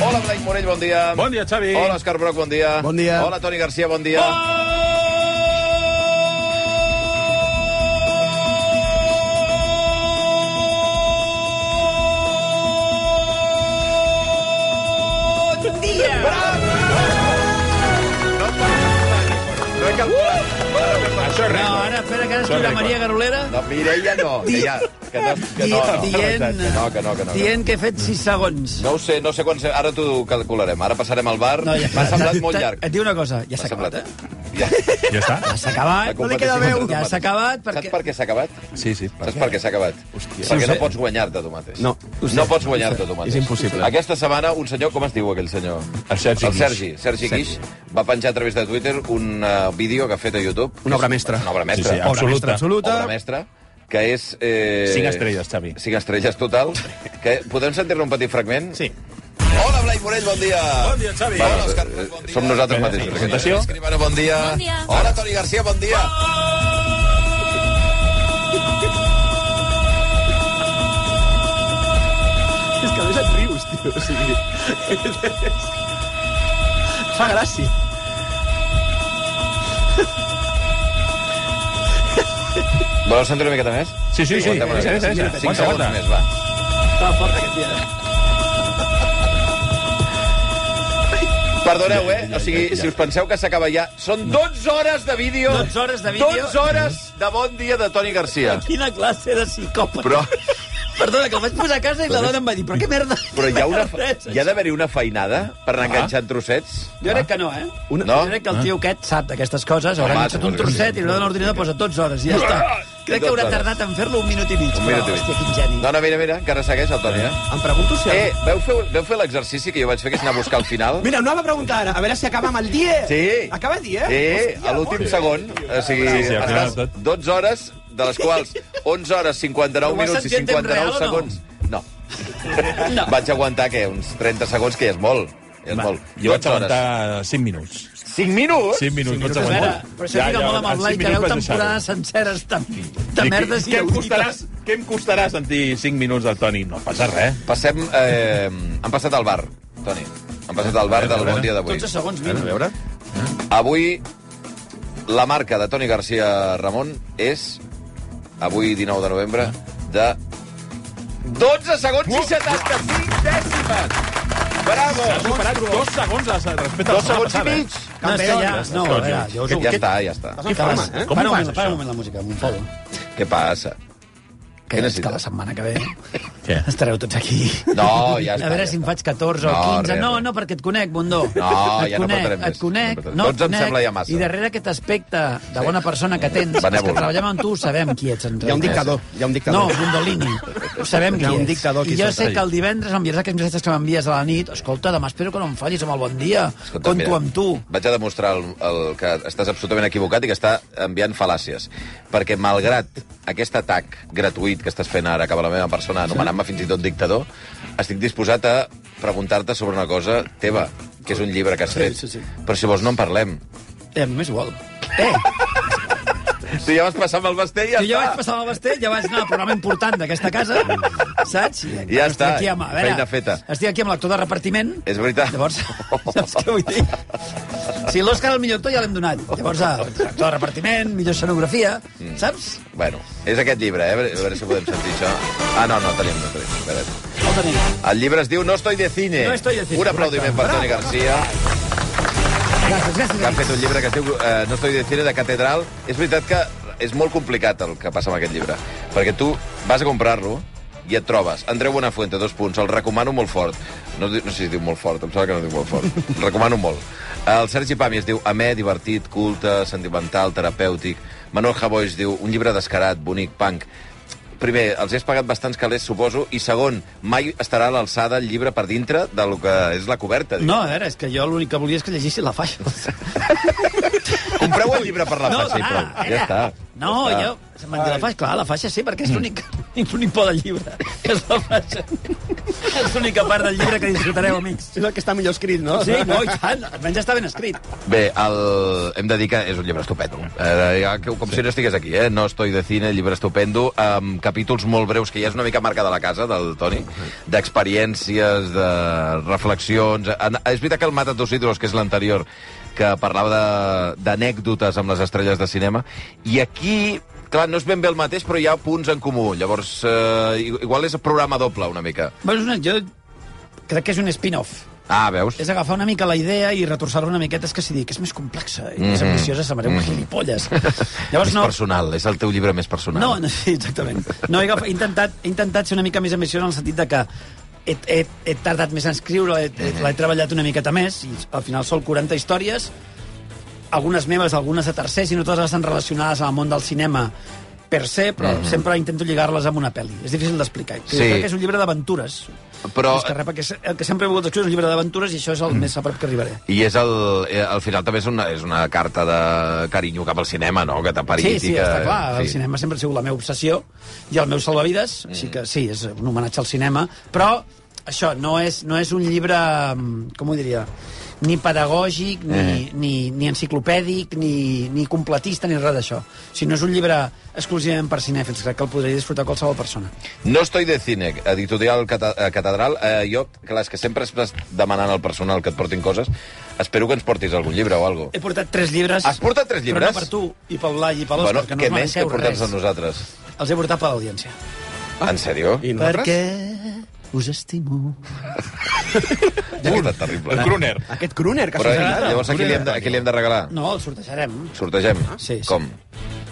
Hola, Blai Morell, bon dia. Bon dia, Xavi. Hola, Òscar Broc, bon dia. Bon dia. Hola, Toni Garcia, bon dia. No he calculat. Això No, és res. ara, espera, que ara escriu la Maria Garolera No, Mireia no. Que, ja, que no, que no, no. Dient- Que no, que no, que no. que no. dient que he fet 6 segons. No ho sé, no sé quants... Ara t'ho calcularem. Ara passarem al bar. No, ja M'ha semblat molt T'ha- llarg. Et diu una cosa, M'ha ja s'ha acabat, semblat. eh? Ja. Ja està? Ja s'ha acabat. La competició Ja s'ha acabat, perquè... Saps per què s'ha acabat? Sí, sí. Saps per què s'ha acabat? Hòstia. Perquè no pots guanyar-te tu mateix. No. No pots guanyar-te tu mateix. És impossible. Aquesta setmana, un senyor, com es diu aquell senyor? El Sergi El Guix. Sergi, Sergi Guix, va penjar a través de Twitter un eh, vídeo que ha fet a YouTube. Una obra mestra. Una obra Sí, mestra. sí, absoluta. absoluta. Obra mestra que és... Eh... Cinc estrelles, Xavi. Cinc estrelles total. Que podem sentir-ne un petit fragment? Sí. Hola, Blai Morell, bon dia. Bon dia, Xavi. Hola, Òscar, bon dia. Som nosaltres Bé, mateixos. presentació. Escribano, bon dia. Bon dia. Hola, Toni Garcia, bon dia. És que a més et rius, tio. O sigui... Fa gràcia. Voleu sentir una miqueta més? Sí, sí, sí. Aguantem una Sí, miqueta. sí, sí. Cinc Aguanta, segons aguanta. més, va. Estava fort aquest dia. Perdoneu, eh? O sigui, si us penseu que s'acaba ja... Són 12 hores de vídeo. 12 hores de vídeo. 12 hores de bon dia de Toni Garcia. Quina classe de psicòpata. Però, Perdona, que el vaig posar a casa i la dona em va dir, però què merda? però hi ha, una, Què merda hi és ha això?" Ah. d'haver-hi una feinada per anar enganxant trossets? Jo crec que no, eh? Una- No? No? Ah. Jo crec que el tio aquest sap d'aquestes coses, haurà Home, enganxat un suposo que sí. trosset i l'haurà l'ordinador posa 12 hores i ja està. Crec que 12 haurà hores. tardat en fer-lo un minut i mig. Un minut i però, mig. Hòstia, quin geni. No, no, mira, mira, encara segueix el Toni, eh? Em pregunto si... Eh, veu fer, veu fer l'exercici que jo vaig fer, que és anar a buscar el final? Mira, no va preguntar ara. A veure si acaba amb el 10. Sí. Acaba el 10? Sí, a l'últim segon. O sigui, Sí, sí, al final estàs tot. 12 hores, de les quals 11 hores, 59 Però ho has minuts i sentit en 59 real o no? segons. No. no. Vaig aguantar, què, uns 30 segons, que ja és molt. Ja és Va, molt. Jo vaig 12 hores. aguantar 5 minuts. 5 minuts? 5 minuts, vaig A veure, aguantar. però això lliga molt amb el Blai, que deu temporades senceres tan, tan merdes i què, em costarà, què em costarà sentir 5 minuts del Toni? No passa res. Passem... Eh, han passat al bar, Toni. Han passat al bar del bon dia d'avui. 12 segons, mira. veure? Avui, la marca de Toni Garcia Ramon és, avui 19 de novembre, de 12 segons i 75 dècimes! Bravo! Ha superat dos segons a- respecte a la Dos setmana segons i passada. eh? mig! No, és que ja... No, a veure, jo us ho... Ja està, ja està. Què fas? Home, eh? Com para, ho un fas, moment, para això? un moment la música, un follow. Què passa? Que, és necessites? que la setmana que ve Què? estareu tots aquí. No, ja està, A veure ja si em està. faig 14 o No, 15. res, no, res. no, perquè et conec, Bundó. No, et ja no conec, portarem més. Et No conec, portarem. no, et 12 em conec, sembla ja massa. I darrere aquest aspecte de bona persona que tens, els Benèvol. que treballem amb tu, sabem qui ets. En Hi ha un realitat. dictador, hi ha un dictador. No, Bundolini. Ho sabem Hi qui ha un ets. dictador aquí I jo sota. sé que el divendres m'enviaràs aquests missatges que m'envies a la nit. Escolta, demà espero que no em fallis amb el bon dia. Escolta, Conto mira, amb tu. Vaig a demostrar el, el que estàs absolutament equivocat i que està enviant fal·làcies. Perquè malgrat aquest atac gratuït que estàs fent ara cap a la meva persona, anomenant-me fins i tot dictador, estic disposat a preguntar-te sobre una cosa teva, que és un llibre que has fet. sí, sí. Però si vols no en parlem. Eh, només vol. Eh, Tu ja vas passar amb el Basté i ja jo ja està. vaig passar el Bastet, ja vaig anar al programa important d'aquesta casa, saps? I Ja estic està, aquí amb, a veure, feina feta. Estic aquí amb l'actor de repartiment. És veritat. Llavors, saps què vull dir? Si l'Òscar el millor actor ja l'hem donat. Llavors, ah, actor de repartiment, millor escenografia, Mm. saps? Bueno, és aquest llibre, eh? A veure- A veure si podem sentir això. Ah, no, no tenim, no tenim. A veure. No el tenim. El llibre es diu No estoy de cine. No estoy de cine, Un aplaudiment per Toni Garcia. Gràcies, gràcies. que han fet gràcies. un llibre que es diu eh, No estoy de cine, de catedral. És veritat que és molt complicat el que passa amb aquest llibre, perquè tu vas a comprar-lo, i et trobes Andreu Buenafuente, dos punts, el recomano molt fort. No, di- no sé si diu molt fort, em sembla que no diu molt fort. El recomano molt. El Sergi Pàmies diu amè, divertit, culte, sentimental, terapèutic. Manuel Javois diu un llibre descarat, bonic, punk. Primer, els has pagat bastants calés, suposo, i segon, mai estarà a l'alçada el llibre per dintre del que és la coberta. No, a veure, és que jo l'únic que volia és que llegissin la faixa. Compreu el llibre per la no, faixa i clar, prou. era- Ja està. No, ja jo... Se'm van dir la faixa, clar, la faixa sí, perquè és l'únic l'únic por del llibre. És la faixa. és l'única part del llibre que disfrutareu, amics. És el que està millor escrit, no? Sí, no, i tant, almenys està ben escrit. Bé, el... hem de dir que és un llibre estupendo. Eh, ja, que- com si no estigués aquí, eh? No estoy de cine, llibre estupendo, amb capítols molt breus, que ja és una mica marca de la casa, del Toni, d'experiències, de reflexions... Eh, En- És veritat que el Mata tus ídolos, que és l'anterior, que parlava de- d'anècdotes amb les estrelles de cinema, i aquí... Clar, no és ben bé el mateix, però hi ha punts en comú. Llavors, eh, i- igual és programa doble, una mica. Bueno, és una, jo crec que és un spin-off. Ah, veus? És agafar una mica la idea i retorçar-la una miqueta. És que si dic que és més complexa i més ambiciosa, semblaré un gilipolles. Llavors, Mhm. Més no, personal, és el teu llibre més personal. No, no, sí, exactament. No, he, agafat- he, intentat, he intentat ser una mica més ambiciós en el sentit de que he, he, he tardat més a escriure, l'he he, Mhm. l'he treballat una miqueta més, i al final són 40 històries, algunes meves, algunes de tercers, i no totes estan relacionades amb el món del cinema per se, però sempre intento lligar-les amb una pel·li. És difícil d'explicar. Mhm. Sí. Sí. Crec que és un llibre d'aventures. Però- Mhm. Més que res, perquè el que sempre he volgut escriure és un llibre d'aventures i això és el més a prop que arribaré. I és el, eh, al final també és una, és una carta de carinyo cap al cinema, no? Que t'ha parit Sí, sí, i que... està clar. El cinema sempre ha sigut la meva obsessió i el meu salvavides, mm. així que sí, és un homenatge al cinema, però això no és, no és un llibre, mm, com ho diria, ni pedagògic, ni, Eh. ni, ni enciclopèdic, ni, ni completista, ni res d'això. O sigui, no és un llibre exclusivament per cinèfils, crec que el podria disfrutar qualsevol persona. No estoy de cine, editorial Cata- eh, Catedral. Eh, jo, clar, és que sempre estàs demanant al personal que et portin coses. Espero que ens portis algun llibre o alguna He portat tres llibres. Has portat tres llibres? Però no per tu, i pel Blai, i per l'Òscar, que no què us menys que mereixeu portar res. a nosaltres? Els he portat per l'audiència. En sèrio? I nosaltres? Perquè us estimo. Ja ha estat terrible. El Gruner. Aquest crooner que Però s'ha eh, llavors aquí li, hem de, aquí li hem de regalar? No, els sortejarem. Sortegem? Sí, sí. Com?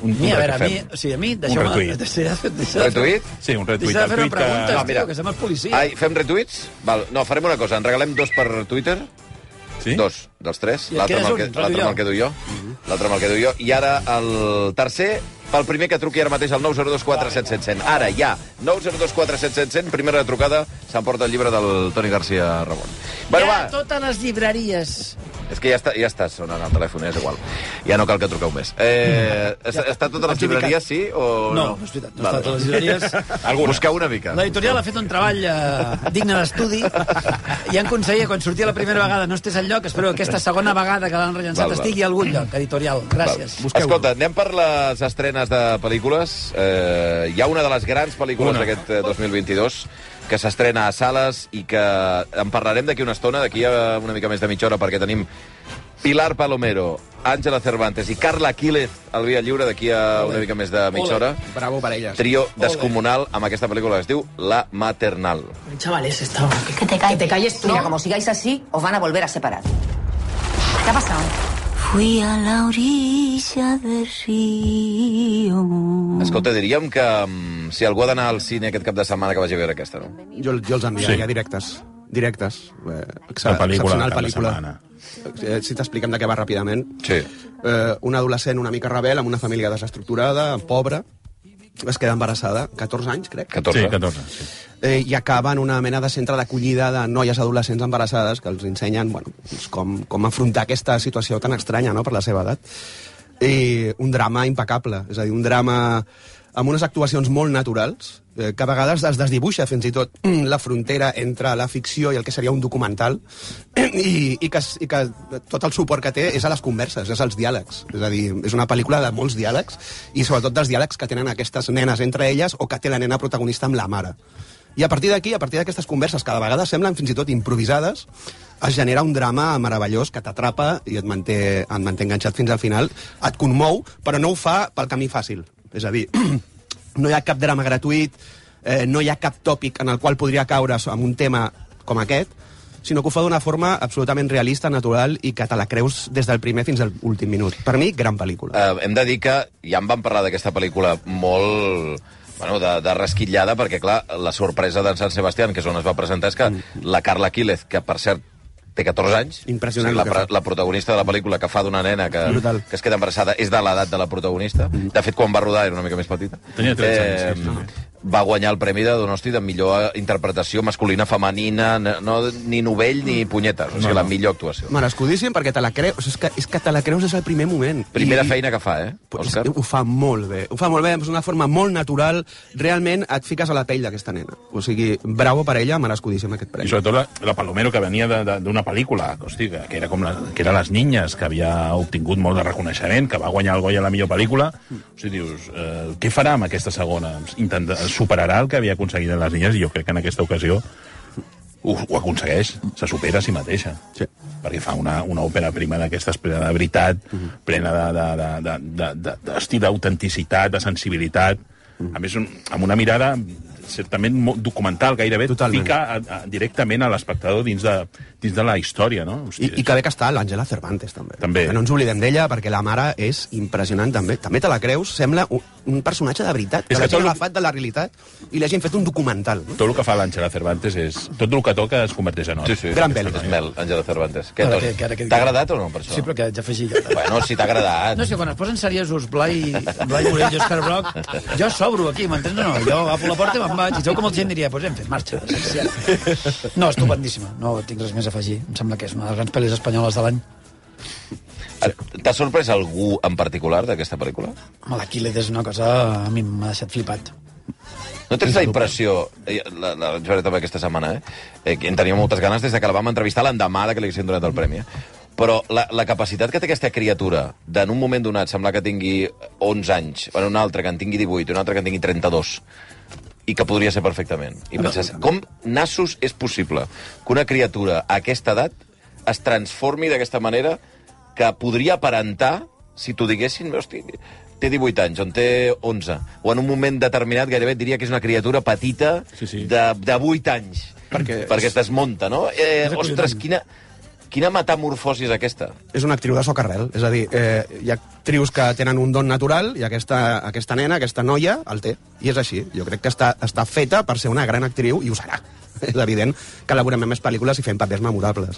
Un, Mi, a un veure, a mi, retuit. o sigui, a mi, deixeu-me... retuit. deixeu- deixeu- deixeu- Retuit? Sí, un retuit. Deixeu de al fer-me tuit que- preguntes, No, tio, que som els policies. Ai, fem retuits? Val. No, farem una cosa. En regalem dos per Twitter. Sí? Dos dels tres. I et L'altre quedes amb, el un, que, reduïdor. l'altre amb el que duc jo. L'altre amb el que duc jo. I ara el tercer, pel primer que truqui ara mateix al 902 4700. Ara, ja. 902 4700, primera trucada, s'emporta el llibre del Toni Garcia Ramon. Bueno, Hi ha va. totes les llibreries. És que ja està, ja està sonant el telèfon, eh, és igual. Ja no cal que truqueu més. Eh, està, està a totes les Adjudicat. llibreries, sí? O No, no és veritat, no està a totes les llibreries. Alguna. Busqueu una mica. L'editorial ha fet un treball eh, digne d'estudi i han aconseguit, quan sortia la primera vegada no estés al lloc, espero que aquesta segona vegada que l'han rellençat Val, val. estigui a algun lloc, editorial. Gràcies. Busqueu Escolta, anem per les estrenes de pel·lícules. Eh, hi ha una de les grans pel·lícules Una. d'aquest eh, 2022 que s'estrena a sales i que en parlarem d'aquí una estona, d'aquí a una mica més de mitja hora, perquè tenim Pilar Palomero, Àngela Cervantes i Carla Quílez al Via Lliure d'aquí a una mica més de mitja hora. Bravo per elles. Trio descomunal amb aquesta pel·lícula que es diu La Maternal. Chavales, está... Que te calles. tú. Mira, como sigáis así, os van a volver a separar. ¿Qué ha pasado? Fui a la orilla del río. Escolta, diríem que mm, si algú ha d'anar al cine aquest cap de setmana que vagi a veure aquesta, no? Jo, jo els enviaria sí. directes. Directes. Eh, excel·la- pel·lícula excepcional de cada pel·lícula. setmana. Eh, Si t'expliquem de què va ràpidament. Sí. Eh, una adolescent una mica rebel, amb una família desestructurada, pobra, es queda embarassada, 14 anys, crec, 14. Sí, 14. Sí. eh, i acaba en una mena de centre d'acollida de noies adolescents embarassades que els ensenyen bueno, doncs com, com afrontar aquesta situació tan estranya no?, per la seva edat. I un drama impecable, és a dir, un drama amb unes actuacions molt naturals, eh, que a vegades es desdibuixa fins i tot la frontera entre la ficció i el que seria un documental, i, i, que, es- i que tot el suport que té és a les converses, és als diàlegs. És a dir, és una pel·lícula de molts diàlegs, i sobretot dels diàlegs que tenen aquestes nenes entre elles o que té la nena protagonista amb la mare. I a partir d'aquí, a partir d'aquestes converses que de vegades semblen fins i tot improvisades, es genera un drama meravellós que t'atrapa i et manté, et manté enganxat fins al final, et conmou, però no ho fa pel camí fàcil. És a dir, no hi ha cap drama gratuït, eh, no hi ha cap tòpic en el qual podria caure amb un tema com aquest, sinó que ho fa d'una forma absolutament realista, natural i que te la creus des del primer fins al últim minut. Per mi, gran pel·lícula. Eh, hem de dir que ja en vam parlar d'aquesta pel·lícula molt Bueno, de, de resquitllada, perquè, clar, la sorpresa d'en Sant Sebastián, que és on es va presentar, és que Mm. la Carla Quílez, que, per cert, té 14 anys. Impressionant O sigui, el que la, fa. la protagonista de la pel·lícula que fa d'una nena que, Brutal. Mm. que es queda embarassada és de l'edat de la protagonista. De fet, quan va rodar era una mica més petita. Tenia 13 anys, sí, sí, Va guanyar el Premi de Donosti de millor eh, interpretació masculina, femenina, n- no, ni novell ni punyetes. O sigui, la millor actuació. Merescudíssim, perquè te la creus. O sigui, és, que, és que te la creus des del primer moment. Primera feina que fa, eh, Pues, Òscar? ho fa molt bé, ho fa molt bé, és una forma molt natural, realment et fiques a la pell d'aquesta nena. O sigui, bravo per ella, merescudíssim aquest Y premi. sobre todo la, la Palomero, que venia de, de, d'una pel·lícula, hosti, que, que, era com la, que era Les Niñes, que havia obtingut molt de reconeixement, que va guanyar el Goya la millor pel·lícula. O sigui, dius, eh, què farà amb aquesta segona? Intenta, superarà el que havia aconseguit en Les Niñes? I jo crec que en aquesta ocasió ho, ho aconsegueix, se supera a si mateixa. Sí. Perquè fa una, una òpera prima d'aquestes plena de veritat, Mhm. plena de- de- de- de- de- de- d'estil d'autenticitat, de sensibilitat. Mhm. A més, un, amb una mirada certament molt documental, gairebé Totalment. fica a, a, directament a l'espectador dins, de, dins de la història, no? I, I que bé que està l'Àngela Cervantes, també. També. Que no ens oblidem d'ella, perquè la mare és impressionant, també. També te la creus, sembla un, un personatge de veritat, És que que l'hagin tot lo- agafat de la realitat i l'hagin fet un documental. No? Tot el que fa l'Àngela Cervantes és... Tot el que toca es converteix Ah, en or. Sí, sí. Gran és- pel·li. És Mel, Àngela Cervantes. Què, Ara que- que ara Toni? que- T'ha agradat o no, per això? Sí, però que haig afegit jo. Bueno, si t'ha agradat. No, és que quan es posen seriosos Blai, Blai Morell i Òscar Broc, jo s'obro aquí, m'entens o no? Jo agafo la porta i me'n vaig. I segur que molta gent diria, doncs hem fet marxa. essencial." No, estupendíssima. No tinc res més a afegir. Em sembla que és una de les grans pel·lis espanyoles de l'any. T'ha sorprès algú en particular d'aquesta pel·lícula? Home, l'Aquiles és una cosa... A mi m'ha deixat flipat. No tens la impressió, eh, la, la vaig veure també aquesta setmana, eh? eh que en tenia moltes ganes des de que la vam entrevistar l'endemà de que li haguessin donat el premi, eh? però la, la capacitat que té aquesta criatura d'en un moment donat semblar que tingui 11 anys, en un altre que en tingui 18, un altre que en tingui 32, i que podria ser perfectament. I penses, com nassos és possible que una criatura a aquesta edat es transformi d'aquesta manera que podria aparentar, si t'ho diguessin, hosti, té 18 anys, on té 11, o en un moment determinat gairebé et diria que és una criatura petita Sí, sí. De, de 8 anys. Perquè- Perquè es desmunta, no? Eh, És ostres, acollonant. quina, quina metamorfosi és aquesta? és una actriu de soc arrel, és a dir, eh, hi ha actrius que tenen un don natural i aquesta, aquesta nena, aquesta noia, el té, i és així. Jo crec que està, està feta per ser una gran actriu i ho serà. És evident que elaborem més pel·lícules i fem papers memorables.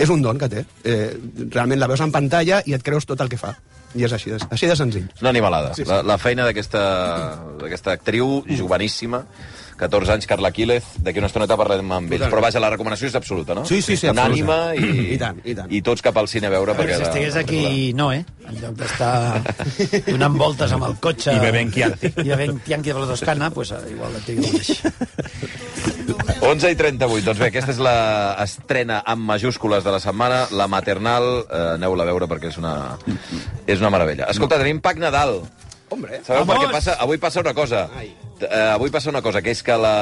És un don que té. Eh, realment la veus en pantalla i et creus tot el que fa. I és així de, així de senzill. És una animalada. Sí, sí. La, la feina d'aquesta d'aquesta actriu joveníssima, 14 anys, Carla Quílez, d'aquí una estoneta parlem amb ells. Totalment. Però vaja, la recomanació és absoluta, no? Sí, sí, sí, absoluta. Unànima i, I tant, i tant. i tots cap al cine a veure. Però perquè si la- estigués aquí, no, eh? En lloc d'estar donant voltes amb el cotxe... I bevent Chianti. I bevent Chianti de la Toscana, pues, eh, igual et dic el mateix. 11 i 38. Doncs bé, aquesta és l'estrena amb majúscules de la setmana, la maternal. Eh, Aneu-la a veure perquè és una, és una meravella. Escolta, tenim Pac Nadal. Hombre, Sabeu per Vamos! què passa? Avui passa una cosa. Eh, avui passa una cosa, que és que a, la,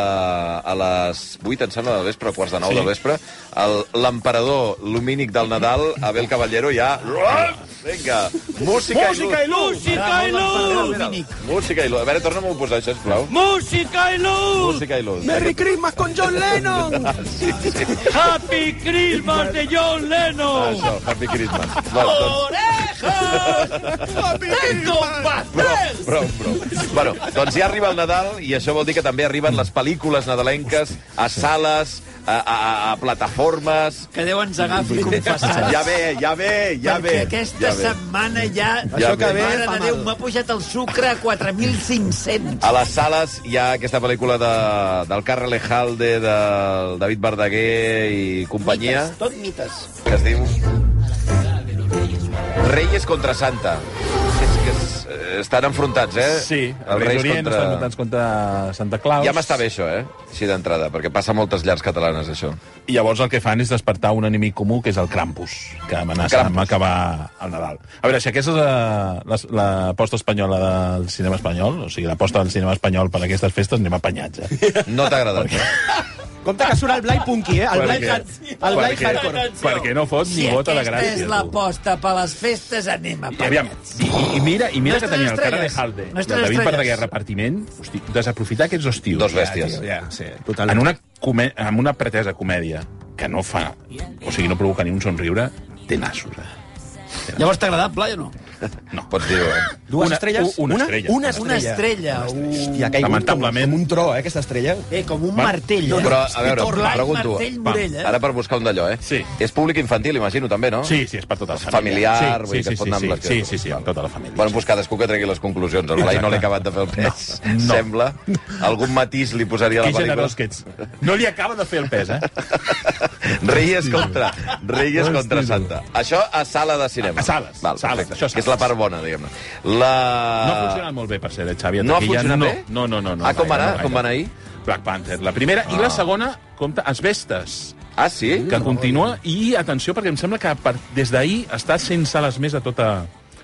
a les 8, em sembla, del vespre, o quarts de 9 sí. del vespre, el- l'emperador lumínic del Nadal, Abel Caballero, ja... Uah! Vinga, música, música i luz! Música i luz! Música i luz. A veure, torna-m'ho a posar, això, sisplau. Música i luz! Música i luz. Merry Christmas con John Lennon! Happy Christmas de John Ah, Lennon! Això, Happy Christmas. Va, doncs, Tengo un pastel! Prou, prou. Bueno, doncs ja arriba el Nadal i això vol dir que també arriben les pel·lícules nadalenques a sales, a, a, a, a plataformes... Que Déu ens agafi confessats. Ja ve, ja ve, ja ve. Perquè aquesta ja ja ve. setmana ja... Ja ve. Mare de Déu, m'ha pujat el sucre a 4.500. A les sales hi ha aquesta pel·lícula de, del Carre Lejalde, del David Verdaguer i companyia, Mites, tot mites. que es diu... Reyes contra Santa. És que es, eh, estan enfrontats, eh? Sí, els Reis contra... estan muntats contra Santa Claus. Ja m'està bé això, eh? Així d'entrada, perquè passa a moltes llars catalanes, això. I llavors el que fan és despertar un enemic comú, que és el Krampus, que amenaça Krampus. amb acabar el Nadal. A veure, si aquesta és la- la- l'aposta espanyola del cinema espanyol, o sigui, l'aposta del cinema espanyol per aquestes festes, anem apanyats, eh? No t'ha agradat, eh? Compte que surt el Blai Punky, eh? El Blai, Perquè- Hard- el Blai perquè- Hardcore. Perquè no fot Si ni gota aquesta de gràcia. és tu. l'aposta per les festes, anem a I, aviam, i, i, i mira, i mira que Nostres tenia el cara de estrelles. Halde, el Nostres David estrelles. Verdaguer repartiment, hosti, desaprofitar aquests dos tios. Dos bèsties. Ja, tio, ja, sí. Totalment. En una, come, en una pretesa comèdia que no fa, o sigui, no provoca ni un somriure, té nassos, eh? Llavors t'ha agradat, Blai, o no? No. Pots dir-ho, eh? Dues Una- estrelles? u- una una, estrella. una estrella. Una estrella. Hòstia, ha caigut Lamentablement. Com, com un tro, eh, aquesta estrella. Un... Eh, com un Va. martell, eh? Però, a veure, Torlai, pregunto. martell, Pam. Morell, eh? Ara per buscar un d'allò, eh? Sí. És públic infantil, imagino, també, no? Sí, sí, és per tota la família. Familiar, sí, vull dir que sí, es pot sí, anar amb sí, les sí, criatures. sí, sí, amb tota la família. Bueno, doncs cadascú que tregui les conclusions. El Blai no l'he acabat de fer el pes, no, no. sembla. Algun matís li posaria a que la pel·lícula. generós que ets. No li acaba de fer el pes, eh? Reyes contra, Reyes Hosti, contra tu. Santa. Això a sala de cinema. A sales, Val, sales, perfecte, això sales. Que és la part bona, diguem-ne. La... No ha funcionat molt bé, per ser, de Xavi. Ah. No ha Ataquilla, funcionat no. bé? No, no, no. no Ah, com va gaire, anar? no Com va anar ahir? Black Panther, la primera. I la segona, compte, es vestes Ah, sí? que continua i atenció perquè em sembla que per, des d'ahir està sense sales més a tota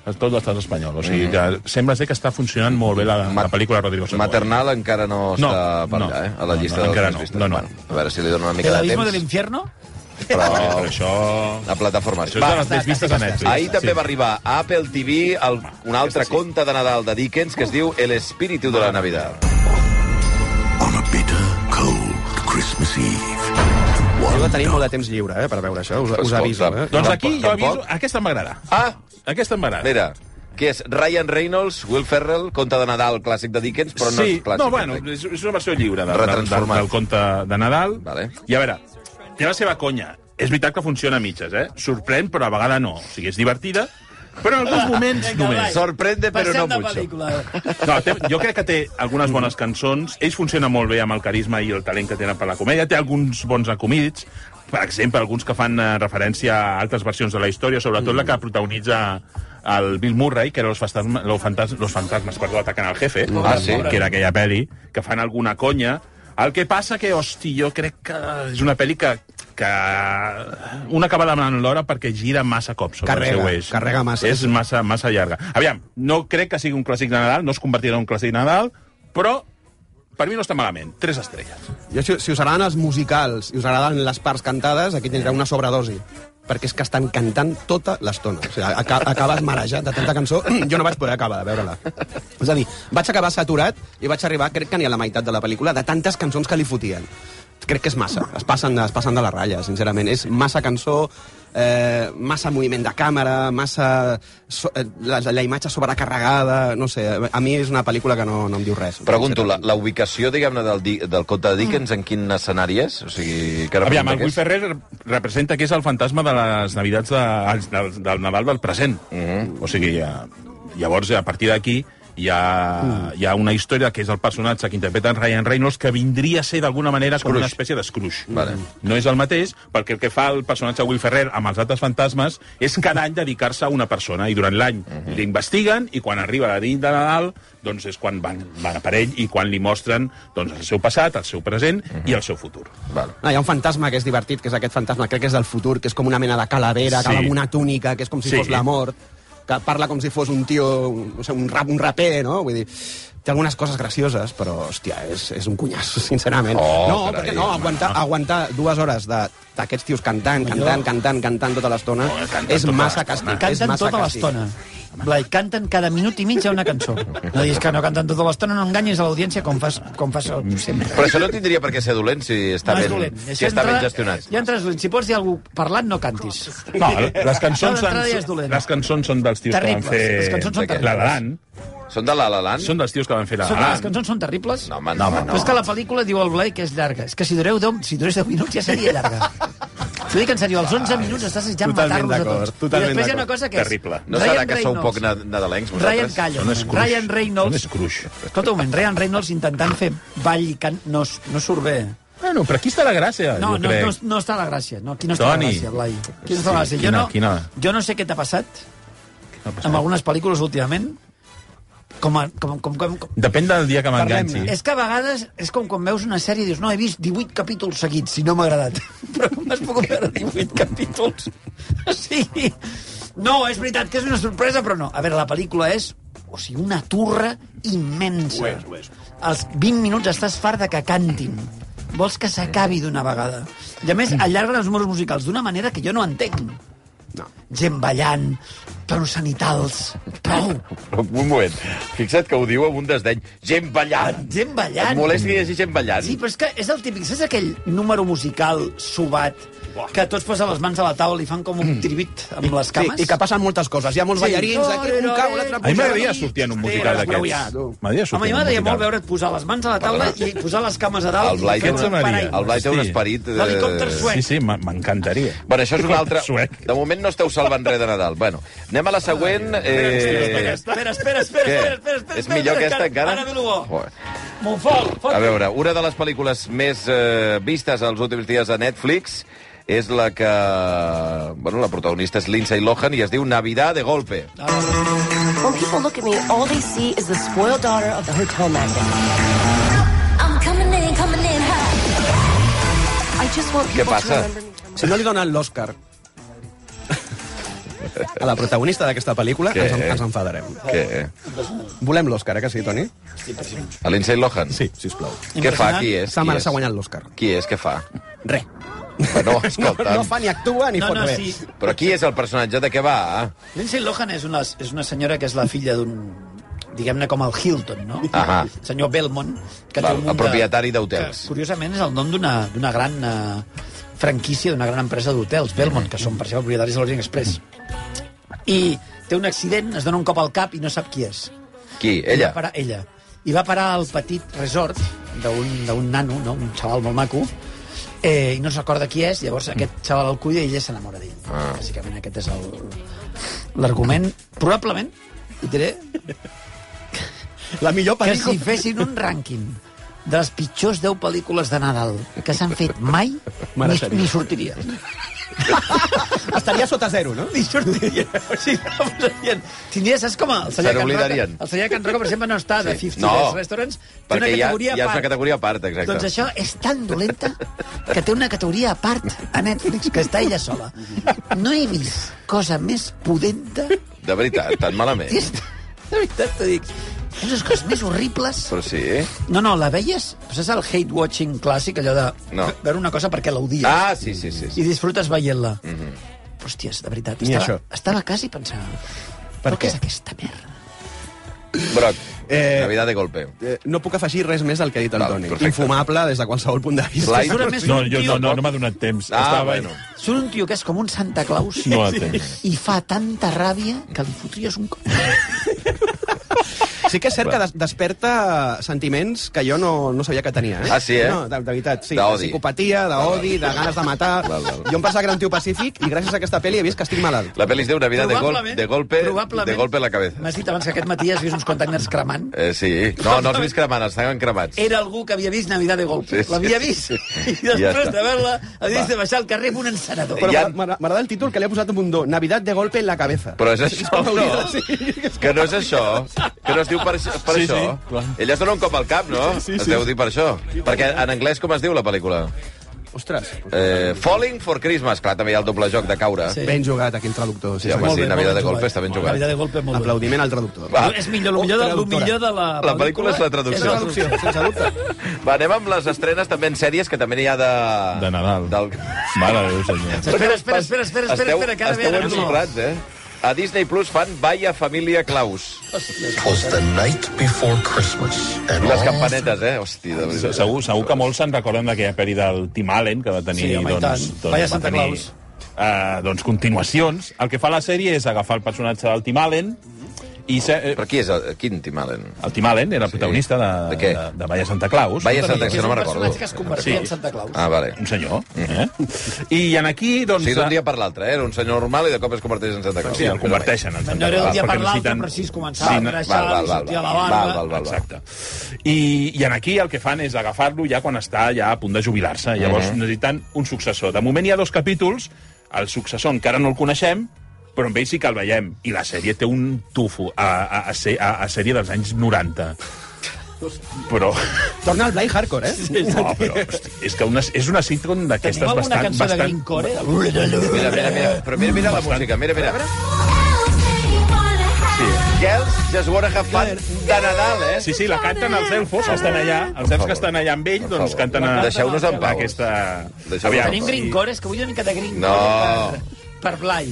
a tot l'estat espanyol. O sigui, que sembla ser que està funcionant molt bé la, Mm. Ma- la pel·lícula Rodrigo Sacó. Maternal encara no està No, per no, allà, eh? A no, la no, llista encara dels no, més vistes. no, no. Bueno, a veure si li dono una El mica de abismo de temps. l'infierno? Però... Però això... A plataformes. Això és de les més vistes a Netflix. Ahir també va arribar a Apple TV el, un altre sí. conte de Nadal de Dickens que es diu El espíritu de la Navidad. On a bitter, cold Christmas Eve. Jo de tenir molt de temps lliure, eh, per veure això. Us, us Escolta, aviso, eh? Doncs aquí jo Tampoc. aviso... Aquesta m'agrada. Ah, Aquesta m'agrada. mira, que és Ryan Reynolds, Will Ferrell, conte de Nadal clàssic de Dickens, però no sí, és clàssic. No, bueno, és, és una versió lliure de, de, de, Retransformat. del conte de Nadal. Vale. I a veure, té la seva conya. És veritat que funciona a mitges, eh? Sorprèn, però a vegada no. O sigui, és divertida, però en alguns moments Vinga, només. vai. Sorprende, però Passem no de mucho. pel·lícula. No, té, jo crec que té algunes bones cançons. Ells funcionen molt bé amb el carisma i el talent que tenen per la comèdia. Té alguns bons acomídits, per exemple, alguns que fan eh, referència a altres versions de la història, sobretot la que protagonitza el Bill Murray, que era Los, fantasma, los, fantas, los fantasmes perdó, atacant al jefe, Ah, sí? que era aquella peli que fan alguna conya. El que passa que, hosti, jo crec que és una pel·li que, que una acaba demanant l'hora perquè gira massa cops sobre Carrega, el seu eix. carrega massa. És massa, massa llarga. Aviam, no crec que sigui un clàssic de Nadal, no es convertirà en un clàssic de Nadal, però per mi no està malament. Tres estrelles. Jo, si, si us agraden els musicals i us agraden les parts cantades, aquí tindreu una sobredosi perquè és que estan cantant tota l'estona. O sigui, aca acabes marejat de tanta cançó. Jo no vaig poder acabar de veure-la. És a dir, vaig acabar saturat i vaig arribar, crec que ni a la meitat de la pel·lícula, de tantes cançons que li fotien. Crec que és massa. Es passen, es passen de la ratlla, sincerament. És massa cançó, eh, massa moviment de càmera, massa... So, eh, la, la imatge sobrecarregada... No sé, a mi és una pel·lícula que no, no em diu res. Pregunto, la, la ubicació, diguem-ne, del, di- del conte de Dickens, en quin escenari és? O sigui, que Aviam, el Will representa Ferrer representa que és el fantasma de les Navidats de, els- del, del Nadal del present. Mm Mhm. -hmm. O sigui, ja, llavors, a partir d'aquí, hi ha, hi ha una història que és el personatge que interpreta en Ryan Reynolds que vindria a ser d'alguna manera com una espècie d'escruix. Vale. No és el mateix, perquè el que fa el personatge Will Ferrer amb els altres fantasmes és cada any dedicar-se a una persona, i durant l'any Mhm. l'investiguen, i quan arriba la nit de Nadal, doncs és quan van, van a per ell i quan li mostren doncs, el seu passat, el seu present Mhm. i el seu futur. aquest? Val. No, Ah, hi ha un fantasma que és divertit, que és aquest fantasma, crec que és del futur, que és com una mena de calavera, Sí. que va amb una túnica, que és com si Sí. fos la mort, que parla com si fos un tio, un, no sé, un, rap, un raper, no? Vull dir, té algunes coses gracioses, però, hòstia, és, és un cunyasso, sincerament. Oh, no, carai, perquè no, aguantar, aguantar dues hores de- d'aquests tios cantant, cantant, cantant, cantant tota l'estona, Oh, canten és tota massa l'estona. Ah, càstig. és Canten massa tota càstig. l'estona. Blai, canten cada minut i mig a una cançó. No diguis que no canten tota l'estona, no enganyis a l'audiència com fas, com fas sempre. Però això no tindria per què ser dolent si Mm. està, no és ben, dolent. si Això està ben entra- gestionat. Ah. Ja entres dolent. Si pots dir algú parlant, no cantis. No, les cançons, Això d'entrada ja és són, dolent. les cançons són dels tios Terribles. que van fer... Les cançons són la terribles. Lalan. Són de la La Land? Són dels tios que van fer la Són, les Lalan. cançons són terribles. No, home, no, home, no. Però és que la pel·lícula diu el Blai que és llarga. És que si dureu 10, si durés 10 minuts ja seria llarga. T'ho dic en sèrio, als 11 minuts estàs desitjant Totalment matar-los a d'acord, tots. I totalment després hi ha una d'acord. cosa que és... Terrible. No Ryan serà que sou Reynolds. poc na- nadalencs, Ryan, vosaltres? calla. Són escruix. Ryan Són Reynolds... escruix. Escolta un moment, Ryan Reynolds intentant fer ball i cant... No, no surt bé. Bueno, però aquí està la gràcia, No, jo no, crec. no, no està la gràcia. No, aquí no està Toni. la gràcia, Blai. Aquí no està la gràcia. Quina- jo, no, quina- jo no sé què t'ha passat No passa amb res. algunes pel·lícules últimament. Com, a, com, com, com, com, Depèn del dia que m'enganxi. És que a vegades és com quan veus una sèrie i dius no, he vist 18 capítols seguits i no m'ha agradat. Però com has pogut veure 18 capítols? O sigui, no, és veritat que és una sorpresa, però no. A veure, la pel·lícula és o sigui, una turra immensa. Ho és, ho és. Als 20 minuts estàs fart de que cantin. Vols que s'acabi d'una vegada. I a més, allarguen els números musicals d'una manera que jo no entenc. No. Gent ballant, tonos sanitals... Prou! Però un moment, fixa't que ho diu amb un desdeny. Gent ballant! Gent ballant! Et molesta que hi hagi gent ballant? Sí, però és que és el típic, saps aquell número musical subat que tots posen les mans a la taula i fan com un tribit amb les Sí, cames. Mm. i que passen moltes coses. Hi ha molts Sí. ballarins, aquí un cau, l'altre A mi m'agradaria puja. sortir en un Sí, musical però d'aquests. ja, tu. Home, a M'agradaria mi sortir en un m'agradaria molt musical. veure't posar les mans a la taula i posar les cames a dalt. El Blai, i fer què un et semblaria? parany. El Blai té un Hosti. esperit... eh, L'helicòpter suec. Sí, sí, m'a- m'encantaria. Bueno, això és un altre... Suec. De moment no esteu salvant res de Nadal. Bueno, anem a la següent. Eh... Espera, espera, espera, espera, espera, espera, espera, espera, És millor aquesta encara? Ara ve l'Hugo. Joder. Monfort, fot. A veure, una de les pel·lícules més eh, vistes els últims dies a Netflix és la que... Bueno, la protagonista és Lindsay Lohan i es diu Navidad de Golpe. When people look at me, all they see is the spoiled daughter of the hotel magnate. I'm coming in, coming in hot. I just want people Què to passa? remember me. Si no li donen l'Oscar a la protagonista d'aquesta pel·lícula, Què? ens, en- ens enfadarem. Què? Volem l'Oscar, eh, que sí, Toni? A Lindsay Lohan? Sí, sisplau. Què fa? Qui és? Sa Qui mare és? s'ha guanyat l'Oscar. Qui és? Què fa? Re. Bueno, No, escolta'm. no fa ni actua ni No, fot no, res. sí. Però qui és el personatge? De què va? Lindsay Lohan és una, és una senyora que és la filla d'un diguem-ne com el Hilton, no? Ahà. Senyor Belmont, que Val, té un el munt de- propietari d'hotels. que, Curiosament és el nom d'una d'una gran eh, franquícia, d'una gran empresa d'hotels, Belmont, que són per això propietaris de l'Orient Express. I té un accident, es dona un cop al cap i no sap qui és. Qui? I Ella? va parar, ella. I va parar al petit resort d'un d'un nano, no? un xaval molt maco, eh, i no s'acorda qui és, llavors aquest xaval el cuida i ella s'enamora d'ell. Ah. Bàsicament aquest és el- l'argument. Probablement, i diré, La millor que si pel·lícula... fessin un rànquing de les pitjors 10 pel·lícules de Nadal que s'han fet mai, ni, Mereixeria. ni sortiria. Estaria sota zero, no? Ni sortiria. O sigui, no posarien... Tindria, saps com el Se Celler Can Roca? n'oblidarien. El Celler Can Roca, per exemple, no està de Sí. 50 No, Best Restaurants. Té una perquè hi ha- categoria hi ha a una part. categoria a part, exacte. Doncs això és tan dolenta que té una categoria a part a Netflix, que està ella sola. No he vist cosa més pudenta... De veritat, tan malament. És- De veritat t'ho dic. És una de les coses més horribles... Però sí. No, no, la veies? Saps el hate-watching clàssic, allò de No. veure una cosa perquè l'odies? Ah, sí, sí, sí. i sí. disfrutes veient-la. Mm -hmm. Hòsties, de veritat, Ni estava, això. estava quasi pensant... Per però què és aquesta merda? Broc, Eh, Navidad de Golpe. Eh, no puc afegir res més del que ha dit el Val, Toni. perfecte. Infumable des de qualsevol punt de vista. Blai? Surt a més No, un jo, tio... no, no, no m'ha donat temps. Ah, Estava... bueno. Surt un tio que és com un Santa Claus No la tens. i fa tanta ràbia que li fotries un... cop. Sí que és cert que des desperta eh, sentiments que jo no, no sabia que tenia. Eh? Ah, sí, eh? No, de, de veritat, sí. D'odi. De psicopatia, d'odi, de ganes de matar... Val, val. Jo em pensava que era un tio pacífic i gràcies a aquesta pel·li he vist que estic malalt. La pel·li es diu Navidad de, gol, Probablement- de Golpe, probablement- de golpe en la cabeza. M'has dit abans que aquest matí has vist uns containers cremant. Eh, sí. No, no els vist cremant, els estaven cremats. Era algú que havia vist Navidad de Golpe. Sí, sí, L'havia sí, vist. sí. I Ja després està. de veure-la, havies Va. de baixar al carrer amb un encenedor. Però Hi ha- m'agra- m'agrada el títol que li ha posat un bundó. Navidad de golpe en la cabeza. Però és això, no? Sí. Que no és això? Que no es diu per, aix- per Sí, això? sí, clar. Ella es dona un cop al cap, no? Sí, sí, es sí. deu dir per això. Perquè en anglès com es diu la pel·lícula? Ostres, Eh, Falling for Christmas. Clar, també hi ha el doblajoc de caure. Sí. ben jugat aquí el traductor. Sí, home, senyor. sí, bé, Navidad molt de ben Golpe jugat. està ben jugat. Navidad de Golpe, molt bé. Aplaudiment al traductor. Va. És millor, lo millor, de, lo traductora. millor de la La pel·lícula és la traducció. És la traducció, sense dubte. Va, anem amb les estrenes també en sèries que també n'hi ha de... De Nadal. Del... Mare de Déu, senyor. Espera, espera, espera, espera, espera, esteu, espera, que ara ve esteu ara ve. ensorrats, eh? A Disney Plus fan Vaya Família Claus. Was the night before Christmas, and Les campanetes, eh? Hosti, de veritat. Segur, segur que molts se'n recorden d'aquella pel·li del Tim Allen, que va tenir... Sí, home, i doncs, tant. doncs, Vaya va Santa tenir, Claus. eh, doncs continuacions. El que fa la sèrie és agafar el personatge del Tim Allen i... Se, eh, Però qui és el, quin Tim Allen? el Tim Allen era el protagonista de, De què? de, de Vaya Santa Claus. Vaya Santa Claus. És Claus. no un me'n personatge recordo. que es convertia Sí. en Santa Claus. Ah, vale. Un senyor. Eh? I en aquí, O doncs... eh, sigui, Mm. d'un dia per l'altre, eh? Era un senyor normal i de cop es converteix en Santa Claus. Sí, el converteixen en No Santa era d'un Claus. dia per perquè l'altre, necessiten- però sí es començava a no- engreixar, val, val, li val, sortia la val, barba. val, val, val. Exacte. I, I en aquí el que fan és agafar-lo ja quan està ja a punt de jubilar-se. Llavors Mhm. necessiten un successor. De moment hi ha dos capítols, el successor encara no el coneixem, però amb ell sí que el veiem. I la sèrie té un tufo a, a, a, ser- a, a sèrie dels anys 90. Però, Torna al Blai Hardcore, eh? no, però hosti, és que una, és una sitcom Tenim d'aquestes alguna bastant... cançó de bastant Greencore? Mira, mira, mira, però mira, mira la música, mira, mira. Girls just wanna have fun de Nadal, eh? Sí, sí, la canten els elfos que estan Ah. allà, els elfos que estan allà amb ell, Per doncs favor. canten... a- Deixeu-nos en pau. Aquesta... Deixeu-nos Aviam. en Tenim pau. Greencore, és que vull una mica de Greencore No. per, per Blai.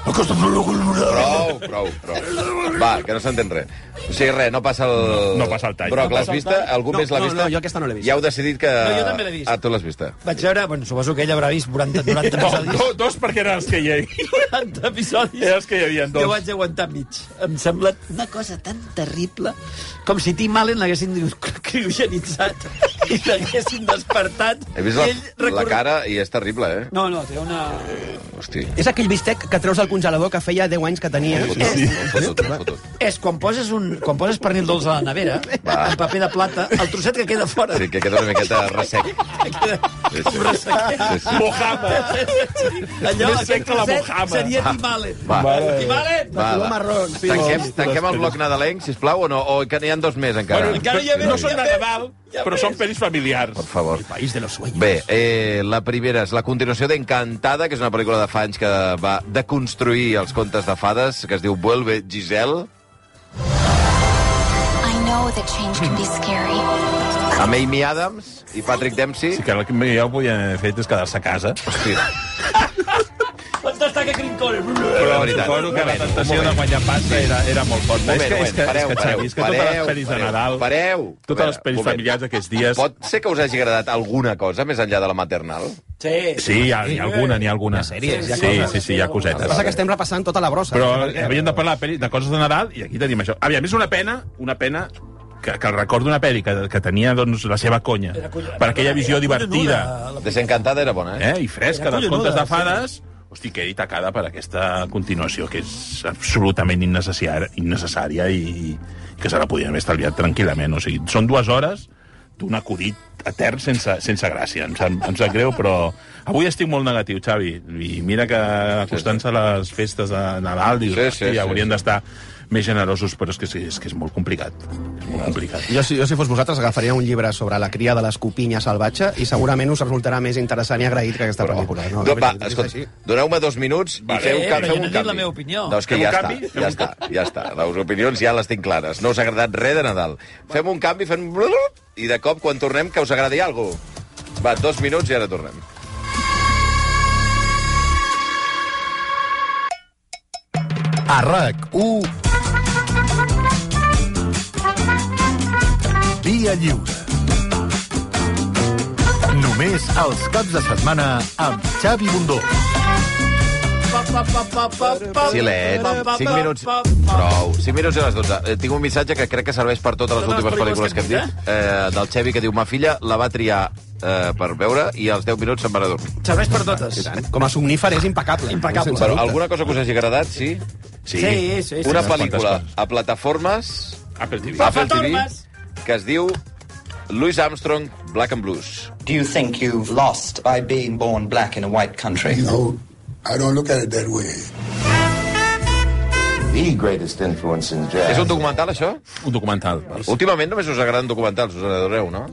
Prou, prou, prou. Va, que no s'entén res. O sigui, res, no passa el... No passa el tall. Broc, No l'has passa el vista? tall. Algú No, més l'ha no, vista? no, jo aquesta no l'he vista. Ja heu decidit que... No, jo també l'he vist. Ah, tu l'has vista. Vaig veure, bueno, suposo que ella haurà vist 40, 90 Do, episodis. Oh, do, dos perquè eren els que hi havia. 40 episodis. Eren els que hi havia, Jo dos. vaig aguantar mig. Em sembla una cosa tan terrible com si Tim Allen l'haguessin criogenitzat i l'haguessin despertat. He vist la, I ell la recorre- cara i és terrible, eh? No, no, té una... Hosti. És aquell bistec que treus del congelador que feia 10 anys que tenia. Fotut, sí. fotut, fotut. És quan poses, un, quan poses pernil dolç a la nevera, Va. en paper de plata, el trosset que queda fora. Sí, que queda una miqueta ressec. Que queda Sí, com sí. ressequer. Sí, sí. Mojama. Allò, Més aquest sec que la trosset Mojama. seria Tim Allen. Va. Tim Allen! Va, color va. marró, sí. tanquem, tanquem el bloc nadalenc, sisplau, o no? O que n'hi ha dos més, encara? Bueno, Encara hi ha no més, són hi ha de més, Nadal, hi ha però més. són pel·lis familiars. Per favor. País de los sueños. Bé, eh, la primera és la continuació d'Encantada, que és una pel·lícula de fa anys que va deconstruir els contes de fades, que es diu Vuelve Giselle, I know that change can be scary. amb Amy Adams i Patrick Dempsey. Sí, que el que jo podia haver fet és quedar-se a casa. Hosti, On està que Crincone? però la veritat. suposo que la moment, tentació de guanyar pasta era, era molt forta. moment, és que, és que, moment, és que, Xavi, és que totes les pel·lis de pareu, Nadal, Pareu! A totes veure, les pel·lis moment. familiars d'aquests dies... Pot ser que us hagi agradat alguna cosa més enllà de la maternal? Sí. eh. Sí, hi ha, hi ha alguna, n'hi ha alguna. sèries, hi ha sí, coses. sí, sí, hi ha El que passa cosetes. és que estem repassant tota la brossa. Però havíem de parlar de, pel·lis- de coses de Nadal i aquí tenim això. Aviam, és una pena, una pena que, que el record d'una pel·li que, que tenia doncs, la seva conya, per aquella visió divertida Desencantada era bona, eh? eh? i fresca Era dels contes collonuda, de fades, hosti, quedi tacada per aquesta continuació que és absolutament innecessària, innecessària i, i que se la podien haver estalviat tranquil·lament. O sigui, són dues hores d'un acudit etern sense, sense gràcia. Em, sap- em sap greu, però avui estic molt negatiu, Xavi. I mira que acostant-se a les festes de Nadal, dius, Sí, sí, sí, sí, sí, sí, haurien sí. d'estar més generosos, però és que, sí, és que és molt complicat. És molt complicat. Jo, si, jo, si fos vosaltres, agafaria un llibre sobre la cria de l'escopinya salvatge i segurament us resultarà més interessant i agraït que aquesta pel·lícula. No, Do, va, És escolta, així. doneu-me dos minuts i Vale. feu, Eh, ca- però feu jo no un he dit canvi. la meva opinió. No, és que Fem ja un està, canvi? Fem ja un està, ja està. Les opinions ja les tinc clares. No us ha agradat res de Nadal. Fem un canvi, fem... un blup, I de cop, quan tornem, que us agradi alguna cosa. Va, dos minuts i ara tornem. A RAC1 Via Lliure Només els caps de setmana amb Xavi Bundó. Silet, 5 minuts... Prou. 5 minuts i les 12. Eh, Tinc un missatge que crec que serveix per totes les Totes les últimes pel·lícules pel·lícules que hem dit, eh, del Xevi, que diu, ma filla la va triar eh, per veure i als 10 minuts se'n van a dormir. Serveix per totes. Com a somnífer és impecable. Impecable. Sense Però dubte. alguna cosa que us hagi agradat, sí? Sí, sí, sí. Una pel·lícula unes quantes coses. a plataformes... Apple TV. Apple TV, Plataformes. que es diu Louis Armstrong Black and Blues. Do you think you've lost by being born black in a white country? know, I don't look at it that way. The greatest influence in És un documental, això? Un documental. Sí. Últimament només us agraden documentals, us adoreu, no?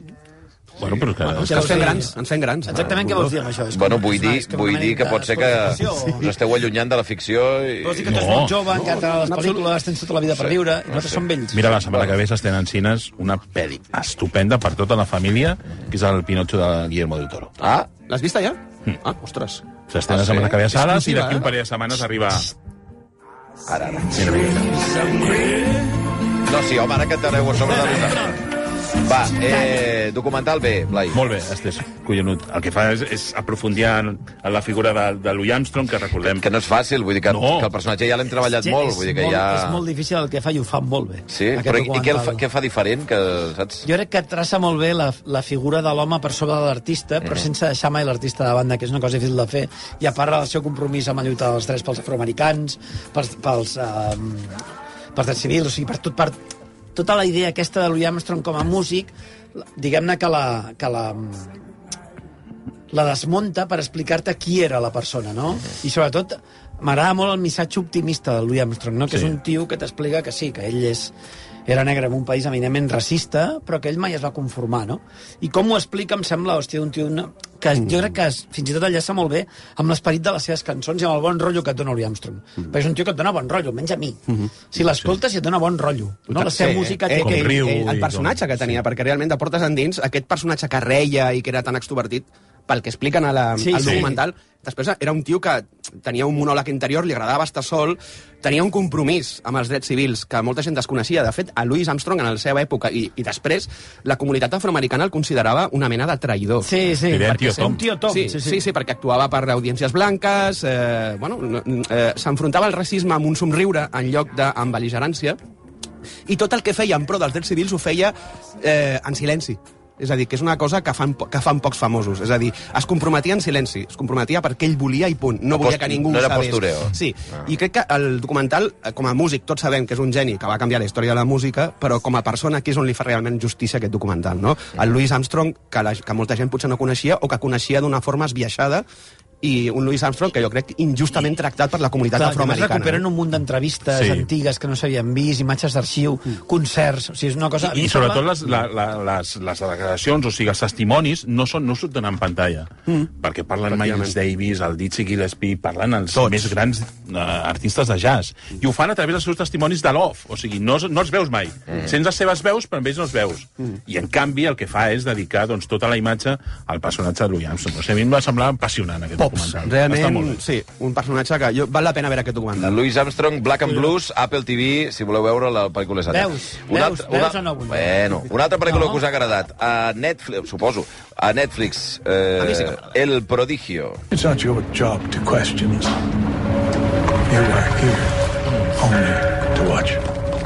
Bueno, però Ah, que... Ens fem grans, ens fem grans. Ah, Exactament què vols dir amb això? És Bueno, com- vull és dir, una- és com vull una dir que mena pot de ser que explotació. us esteu allunyant de la ficció i... Vols dir que tu ets No. molt jove, encara t'agraden les No, pel·lícules, tens tota la vida per viure, i nosaltres som vells. Mira, la setmana que ve s'estén en cines una pel·li estupenda per tota la família, que és el Pinotxo de Guillermo del Toro. Ah, L'has vista ja? Ah, ostres. S'estén Ah, la sí? setmana que ve a sales i Exclusiva, d'aquí eh? un parell de setmanes arriba... ara, ara. Mira, mira. No, sí, home, ara cantareu a sobre de vosaltres. Va, eh, documental bé, Blai. Molt bé, Estés, collonut. El que fa és, és aprofundir en, en la figura de, de Louis Armstrong, que recordem... Que no és fàcil, vull dir que, No. que el personatge ja l'hem treballat És- molt, és vull dir que molt- ja... És molt difícil el que fa i ho fa molt bé. Sí, aquest però i, i què, el fa, documental. què fa diferent? Que, saps? Jo crec que traça molt bé la, la figura de l'home per sobre de l'artista, però sense deixar mai l'artista de banda, que és una cosa difícil de fer, i a part del seu compromís amb la lluita dels drets pels afroamericans, pels, pels, eh, pels drets civils, o sigui, per, tot, per tota la idea aquesta de Louis Armstrong com a músic, la- diguem-ne que la, que la, la desmunta per explicar-te qui era la persona, no? I sobretot m'agrada molt el missatge optimista de Louis Armstrong, no? que sí. Sí. és un tio que t'explica que sí, que ell és, era negre en un país eminentment racista, però que ell mai es va conformar, no? I com ho explica, em sembla, hòstia, un tio no? que Mm. jo crec que es- fins i tot enllaça molt bé amb l'esperit de les seves cançons i amb el bon rotllo que et dona Louis Armstrong. Mm. Perquè és un tio que et dona bon rotllo, menys a mi. Si l'escoltes i et dona bon rotllo. No? La seva Mm-hmm. Sí, música eh, té eh, Com aquell- que- riu que i El personatge com- que tenia, perquè realment de portes endins, aquest personatge que reia i que era tan extrovertit, pel que expliquen a la, Sí, al sí. documental, Després era un tio que tenia un monòleg interior, li agradava estar sol, tenia un compromís amb els drets civils que molta gent desconeixia. De fet, a Louis Armstrong, en la seva època i, i després, la comunitat afroamericana el considerava una mena de traïdor. Sí, sí. Era un tio perquè- Tom. tio Tom, Sí, sí, sí, sí. sí. sí, perquè actuava per audiències blanques, eh, bueno, no- n- eh, s'enfrontava al racisme amb un somriure en lloc de- amb bel·ligerància, i tot el que feia en pro dels drets civils ho feia eh, en silenci. És a dir, que és una cosa que fan, po- que fan pocs famosos. És a dir, es comprometia en silenci, es comprometia perquè ell volia i punt. No No volia post- que ningú no ho era sabés. postureo. Sí, Ah. i crec que el documental, eh, com a músic, tots sabem que és un geni que va canviar la història de la música, però com a persona aquí és on li fa realment justícia aquest documental, no? El Louis Armstrong, que, la, que molta gent potser no coneixia o que coneixia d'una forma esbiaixada, i un Louis Armstrong que jo crec injustament tractat per la comunitat Clar, llavors afroamericana. eh? recuperen un munt d'entrevistes Sí. Mm. sí. antigues que no s'havien vist, imatges d'arxiu, concerts... O sigui, és una cosa... I, i sobretot les, la, la, les, les declaracions, o sigui, els testimonis, no, són, no surten en pantalla. Mm. Perquè parlen Miles Davis, el Dizzy Gillespie, parlen els Tots. més grans eh, artistes de jazz. I ho fan a través dels seus testimonis de l'off. O sigui, no, no els veus mai. Mm. Sents les seves veus, però amb ells no els veus. Mm. I, en canvi, el que fa és dedicar doncs, tota la imatge al personatge de Louis Armstrong. O sigui, a mi em va semblar apassionant aquest Pops. documental. Està molt Realment, bé. sí, un personatge que jo, val la pena veure aquest documental. Eh, Louis Armstrong, Black and Blues, Apple TV, si voleu veure la pel·lícula és ara. Veus, veus, veus o no, Bunyan? Bueno, una altra pel·lícula No. que us ha agradat. A Netflix, suposo, a Netflix, A mi sí eh, que El Prodigio. It's not your job to question us. You are here only to watch.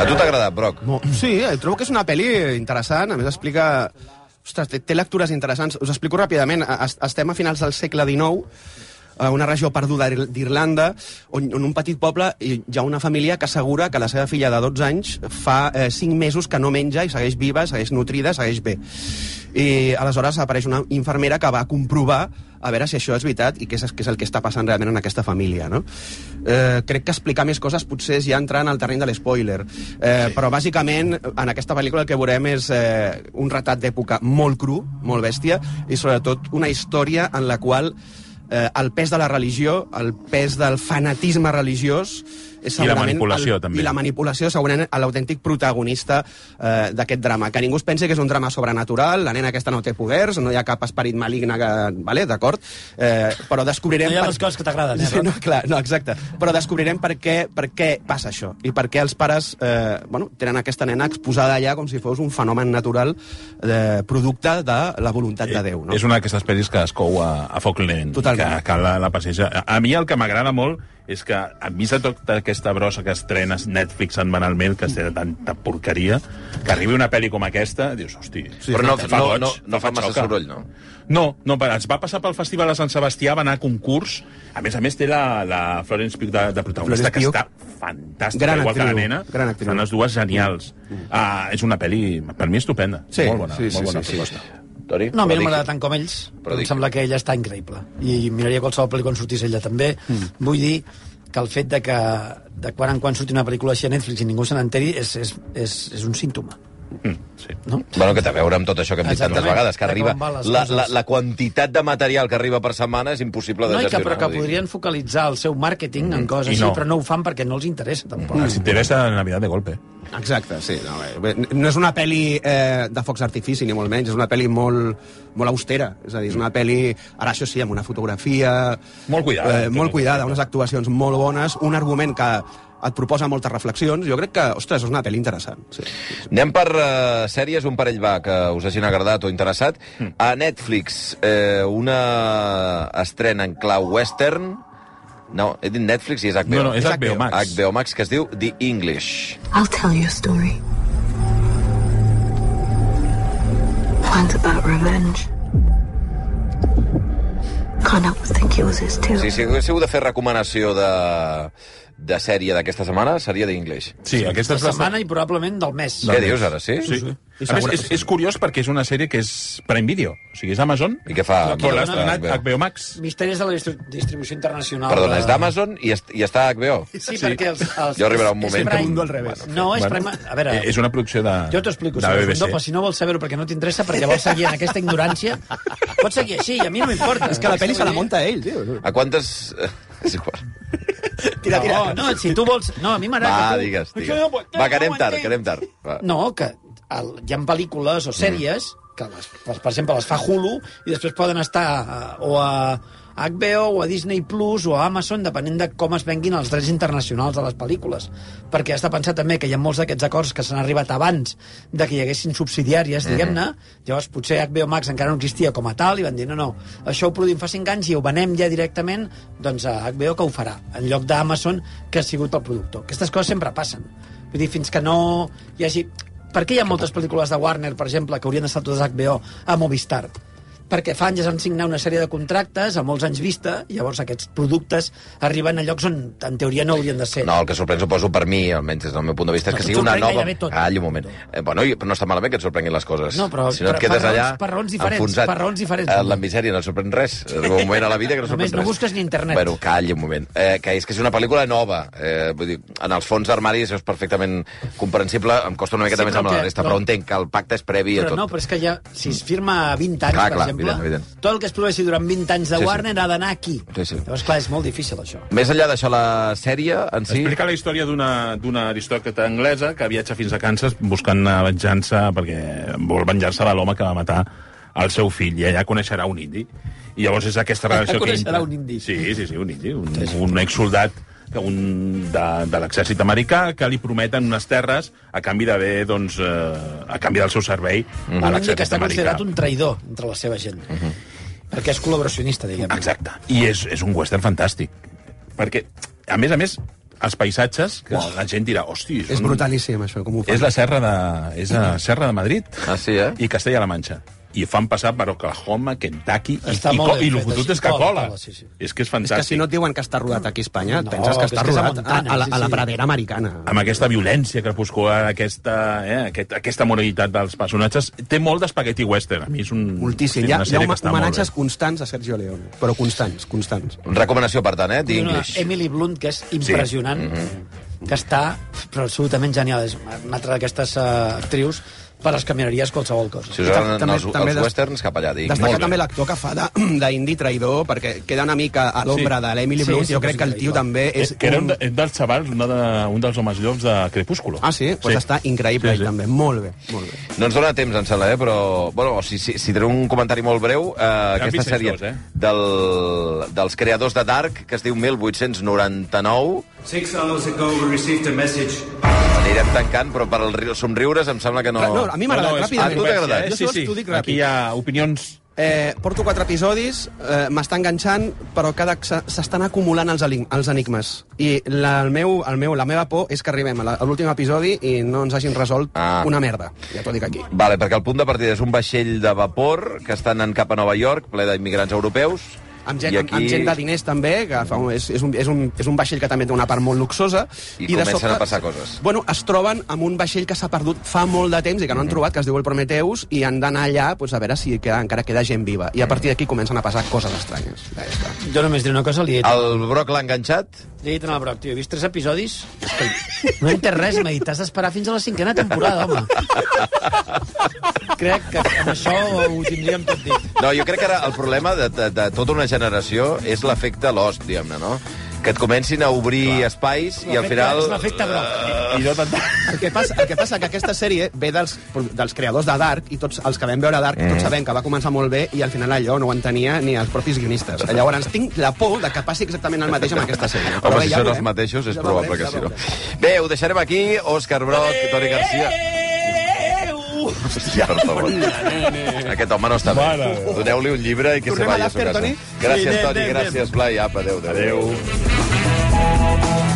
A tu t'ha agradat, Broc? Mo- Sí, eh, trobo que és una pel·li interessant, a més explica... Ostres, té, té lectures interessants. Us explico ràpidament. A- es- Estem a finals del segle XIX, a una regió perduda d'Ir- d'Irlanda, on, on un petit poble hi hi ha una família que assegura que la seva filla de 12 anys fa eh, 5 mesos que no menja i segueix viva, segueix nutrida, segueix bé. I aleshores apareix una infermera que va comprovar a veure si això és veritat i què és, què és el que està passant realment en aquesta família, no? Eh, crec que explicar més coses potser és ja entrar en el terreny de l'espoiler, eh, sí. però bàsicament en aquesta pel·lícula el que veurem és eh, un retrat d'època molt cru, molt bèstia, i sobretot una història en la qual eh, el pes de la religió, el pes del fanatisme religiós... És I la segurament manipulació, el, també. I la manipulació, segurament, a l'autèntic protagonista eh, d'aquest drama. Que ningú es pensi que és un drama sobrenatural, la nena aquesta no té poders, no hi ha cap esperit maligne que... Vale, d'acord? Eh, però descobrirem... No hi ha per- les coses que t'agraden, eh, Sí, Roc? no, clar, no, exacte. Però descobrirem per què, per què passa això i per què els pares eh, bueno, tenen aquesta nena exposada allà com si fos un fenomen natural eh, producte de la voluntat de Déu. Eh, No? És una d'aquestes pel·lis que es cou a, a foc lent. Totalment. Que, que la, la passeja. A, a mi el que m'agrada molt és que, a vista tota aquesta brossa que estrenes Netflix setmanalment, que té tanta porqueria, que arribi una pel·li com aquesta, dius, hosti... Sí, Però no- et no- goig, no- te no fa massa xoca. soroll, no? No, no, però ens va passar pel Festival de Sant Sebastià, va anar a concurs, a més a més té la, la Florence Pugh de, de protagonista, Florence que Pugh. està fantàstica, Gran igual que la actriu, nena. gran actriu. Mm. Són les dues genials. Ah, és una pel·li, per mi, estupenda. Sí, molt bona, sí, sí, molt bona sí, sí. proposta. Tori? No, a mi no Prodigio. m'agrada tant com ells. Però Però em digui. sembla que ella està increïble. I miraria qualsevol pel·lícula on sortís ella també. Mm. Vull dir que el fet de que de quan en quan surti una pel·lícula així a Netflix i ningú se n'enteri és, és, és, és un símptoma. Bueno, que té a veure amb tot això que hem dit tantes Exactament. vegades, que De com arriba... van les La, coses. la, la quantitat de material que arriba per setmana és impossible de No, i que, gestionar. però que vull dir. podrien focalitzar el seu màrqueting en Mm. I coses no. Mm. així, però no ho fan perquè no els interessa tampoc. Mm. Si t'interessa la Navidad de golpe. Exacte, sí. No, eh, bé, bé, no és una pel·li eh, de focs d'artifici, ni molt menys. És una pel·li molt, molt austera. És a dir, és una pel·li, ara això sí, amb una fotografia... Molt cuidada. Eh, molt cuidada, unes actuacions molt bones, un argument que et proposa moltes reflexions. Jo crec que, ostres, és una pel·li interessant. Sí. Anem per uh, sèries, un parell va, que us hagin agradat o interessat. Mm. A Netflix, eh, una estrena en clau western... No, he dit Netflix i és HBO. No, no, és HBO Max. HBO Max, que es diu The English. I'll tell you a story. One's about revenge. Can't help but think yours is too. Sí, si haguéssiu de fer recomanació de, de sèrie d'aquesta setmana, seria The English. Sí, aquesta és La la setmana i probablement del mes. Què dius ara, sí? Doncs Sí. A més, és, és curiós perquè és una sèrie que és Prime Video, o sigui, és Amazon, I què fa? però l'ha estrenat HBO? HBO Max. Misteris de la distri- distribució internacional. Perdona, de- és d'Amazon i, est i està a HBO? Sí, perquè els... els Jo arribarà un és moment que Prime- mundo al revés. No, és Prime... A veure... Eh, és una producció de Jo t'ho explico, de senyor BBC. Fundó, però si no vols saber-ho perquè no t'interessa, perquè vols seguir en aquesta ignorància, pots seguir així, a mi no m'importa. És que la pel·li se la munta ell, tio. A quantes... És igual. Tira, No, tira. no, si tu vols... No, a mi m'agrada Va, que tu... digues, Això no ho digues. entenc, Va, que no anem ho tard, entenc. que anem tard. Va. No, que el, hi ha pel·lícules o sèries que, les, per, per exemple, les fa Hulu i després poden estar eh, o a, a a HBO o a Disney Plus o a Amazon, depenent de com es venguin els drets internacionals de les pel·lícules. Perquè has de pensar també que hi ha molts d'aquests acords que s'han arribat abans de que hi haguessin subsidiàries, diguem-ne. Llavors, potser HBO Max encara no existia com a tal i van dir, no, no, això ho produïm fa 5 anys i ho venem ja directament doncs a HBO que ho farà, en lloc d'Amazon que ha sigut el productor. Aquestes coses sempre passen. Vull dir, fins que no hi hagi... Per què hi ha moltes pel·lícules de Warner, per exemple, que haurien d'estar totes HBO a Movistar? perquè fa anys es van signar una sèrie de contractes a molts anys vista, i llavors aquests productes arriben a llocs on en teoria no haurien de ser. No, el que sorprèn, suposo, per mi, almenys des del meu punt de vista, és Eh, No, que et sigui una sorprèn nova... gairebé tot. Calla un moment. Eh, bueno, i- però no està malament que et sorprenguin les coses. No, però- si no et per- quedes per raons- allà per raons diferents, enfonsat per raons diferents. en la misèria, no et sorprèn res. És un moment a la vida que no et sorprèn Només no res. busques ni internet. Bueno, calla un moment. Eh, que és que és una pel·lícula nova. Eh, vull dir, en els fons d'armari això és perfectament comprensible. Em costa una miqueta Sí, més però amb la que- resta, no. però entenc que el pacte és previ a Però tot. no, però és que ja, si es firma a 20 anys, Clar, per clar, exemple, evident, evident. tot el que es produeixi durant 20 anys de Sí, sí. Warner ha d'anar aquí. Sí, sí. Llavors, clar, és molt difícil, això. Més enllà d'això, la sèrie en si... Explica la història d'una d'una aristòcrata anglesa que viatja fins a Kansas buscant una venjança perquè vol venjar-se de l'home que va matar el seu fill i allà coneixerà un indi. I llavors és aquesta relació que... Coneixerà entre- un indi. Sí, sí, sí, un indi, un, un exsoldat que un de, de l'exèrcit americà que li prometen unes terres a canvi d'haver, doncs, eh, a canvi del seu servei Un indi mm. a Mm-hmm. que l'exèrcit està americà. considerat un traïdor entre la seva gent. Mhm. Perquè és col·laboracionista, diguem. Exacte. I és, és un western fantàstic. Perquè, a més a més, els paisatges que Uah. la gent dirà, hosti... És són- brutalíssim, això, com ho fan. És la serra de, és la serra de Madrid Ah, sí, eh? i Castella-La Manxa. I ho fan passar per Oklahoma, Kentucky... I, Està i, molt co- ben i el fet, fotut així. és que Cola, cola. cola, sí, sí. És que és És que fantàstic. si no et diuen que està rodat aquí a Espanya, No, no, penses que que està és que és a rodat a, Montana, a, la, sí, a la sí. pradera americana. amb aquesta violència crepuscular, aquesta, eh, aquest, aquesta moralitat dels personatges, té molt d'espagueti western. A mi és un, Moltíssim. és Hi ha, una hi ha sèrie que home- està molt bé. homenatges constants a Sergio Leone, però constants, constants. Recomanació, per tant, eh? The Una English. Mm-hmm. Emily Blunt, que és impressionant, que està però absolutament genial. És una altra d'aquestes eh, actrius per les que miraries qualsevol cosa. Si us agraden També- els, també els des- westerns, cap allà, dic. Destacar Molt bé. també l'actor que fa de- d'indi traïdor, perquè queda una mica a l'ombra Sí. de l'Emily Sí, Blunt. sí, jo sí, crec que el sí, tio clar. també és... Eh, que era un, de- un dels xavals, una de, un dels homes llops de Crepúsculo. Ah, sí? Doncs pues està increïble, Sí, sí, sí. també. Molt bé, molt bé. No ens dona temps, em sembla, eh? però... Bueno, si, si, si treu un comentari molt breu, eh, aquesta vist ells sèrie dos, eh? del, dels creadors de Dark, que es diu 1899, Six hours ago, we received a message. anirem tancant, però per als somriures em sembla que no... No, a mi m'ha agradat ràpidament. A tu t'ha Eh, agradat? Jo sols t'ho dic ràpid. opinions... Eh, porto quatre episodis, eh, m'està enganxant, però cada se- s'estan acumulant els, elim- els enigmes. I la, el meu, el meu, la meva por és que arribem a la- a l'últim episodi i no ens hagin resolt Ah. ah. una merda. Ja t'ho dic aquí. Vale, perquè el punt de partida és un vaixell de vapor que està anant cap a Nova York, ple d'immigrants europeus. Amb gent, aquí... amb gent de diners també, que fa, un- és, és, un, és, un, és un vaixell que també té una part molt luxosa. I, de comencen sobte- a passar coses. Bueno, es troben amb un vaixell que s'ha perdut fa molt de temps i que Mhm. no han trobat, que es diu el Prometeus, i han d'anar allà doncs, a veure si queda, encara queda gent viva. Mhm. I a partir d'aquí comencen a passar coses estranyes. Ja està. Jo només diré una cosa, li he dit, El Broc l'ha enganxat? li he dit al Broc, tio, he vist tres episodis, Escolta, no he entès res, m'ha dit, t'has d'esperar fins a la cinquena temporada, home. Crec que amb això ho tindríem tot dit. No, jo crec que ara el problema de, de, de tota una generació és l'efecte Lost, diguem-ne, no? Que et comencin a obrir Clar. espais i al final... eh, És l'efecte Broc. I no tant... El que, passa, el que passa que aquesta sèrie ve dels, dels creadors de Dark i tots els que vam veure Dark Mhm. mm. tots sabem que va començar molt bé i al final allò no ho entenia ni els propis guionistes. Llavors tinc la por de que passi exactament el mateix amb aquesta sèrie. Home, bé, si ja són veurem. els mateixos, és Ja probable que veurem, ja sí, no? veurem. Eh, Bé, ho deixarem aquí. Òscar Broc, Toni Garcia... uh. Hòstia, per favor. Aquest home no està bé. Doneu-li un llibre i que se Tornem a vagi a su l'after, casa. Toni? Sí, Gràcies, anem, Toni. anem, Gràcies, Blai. Apa, adéu. Adéu.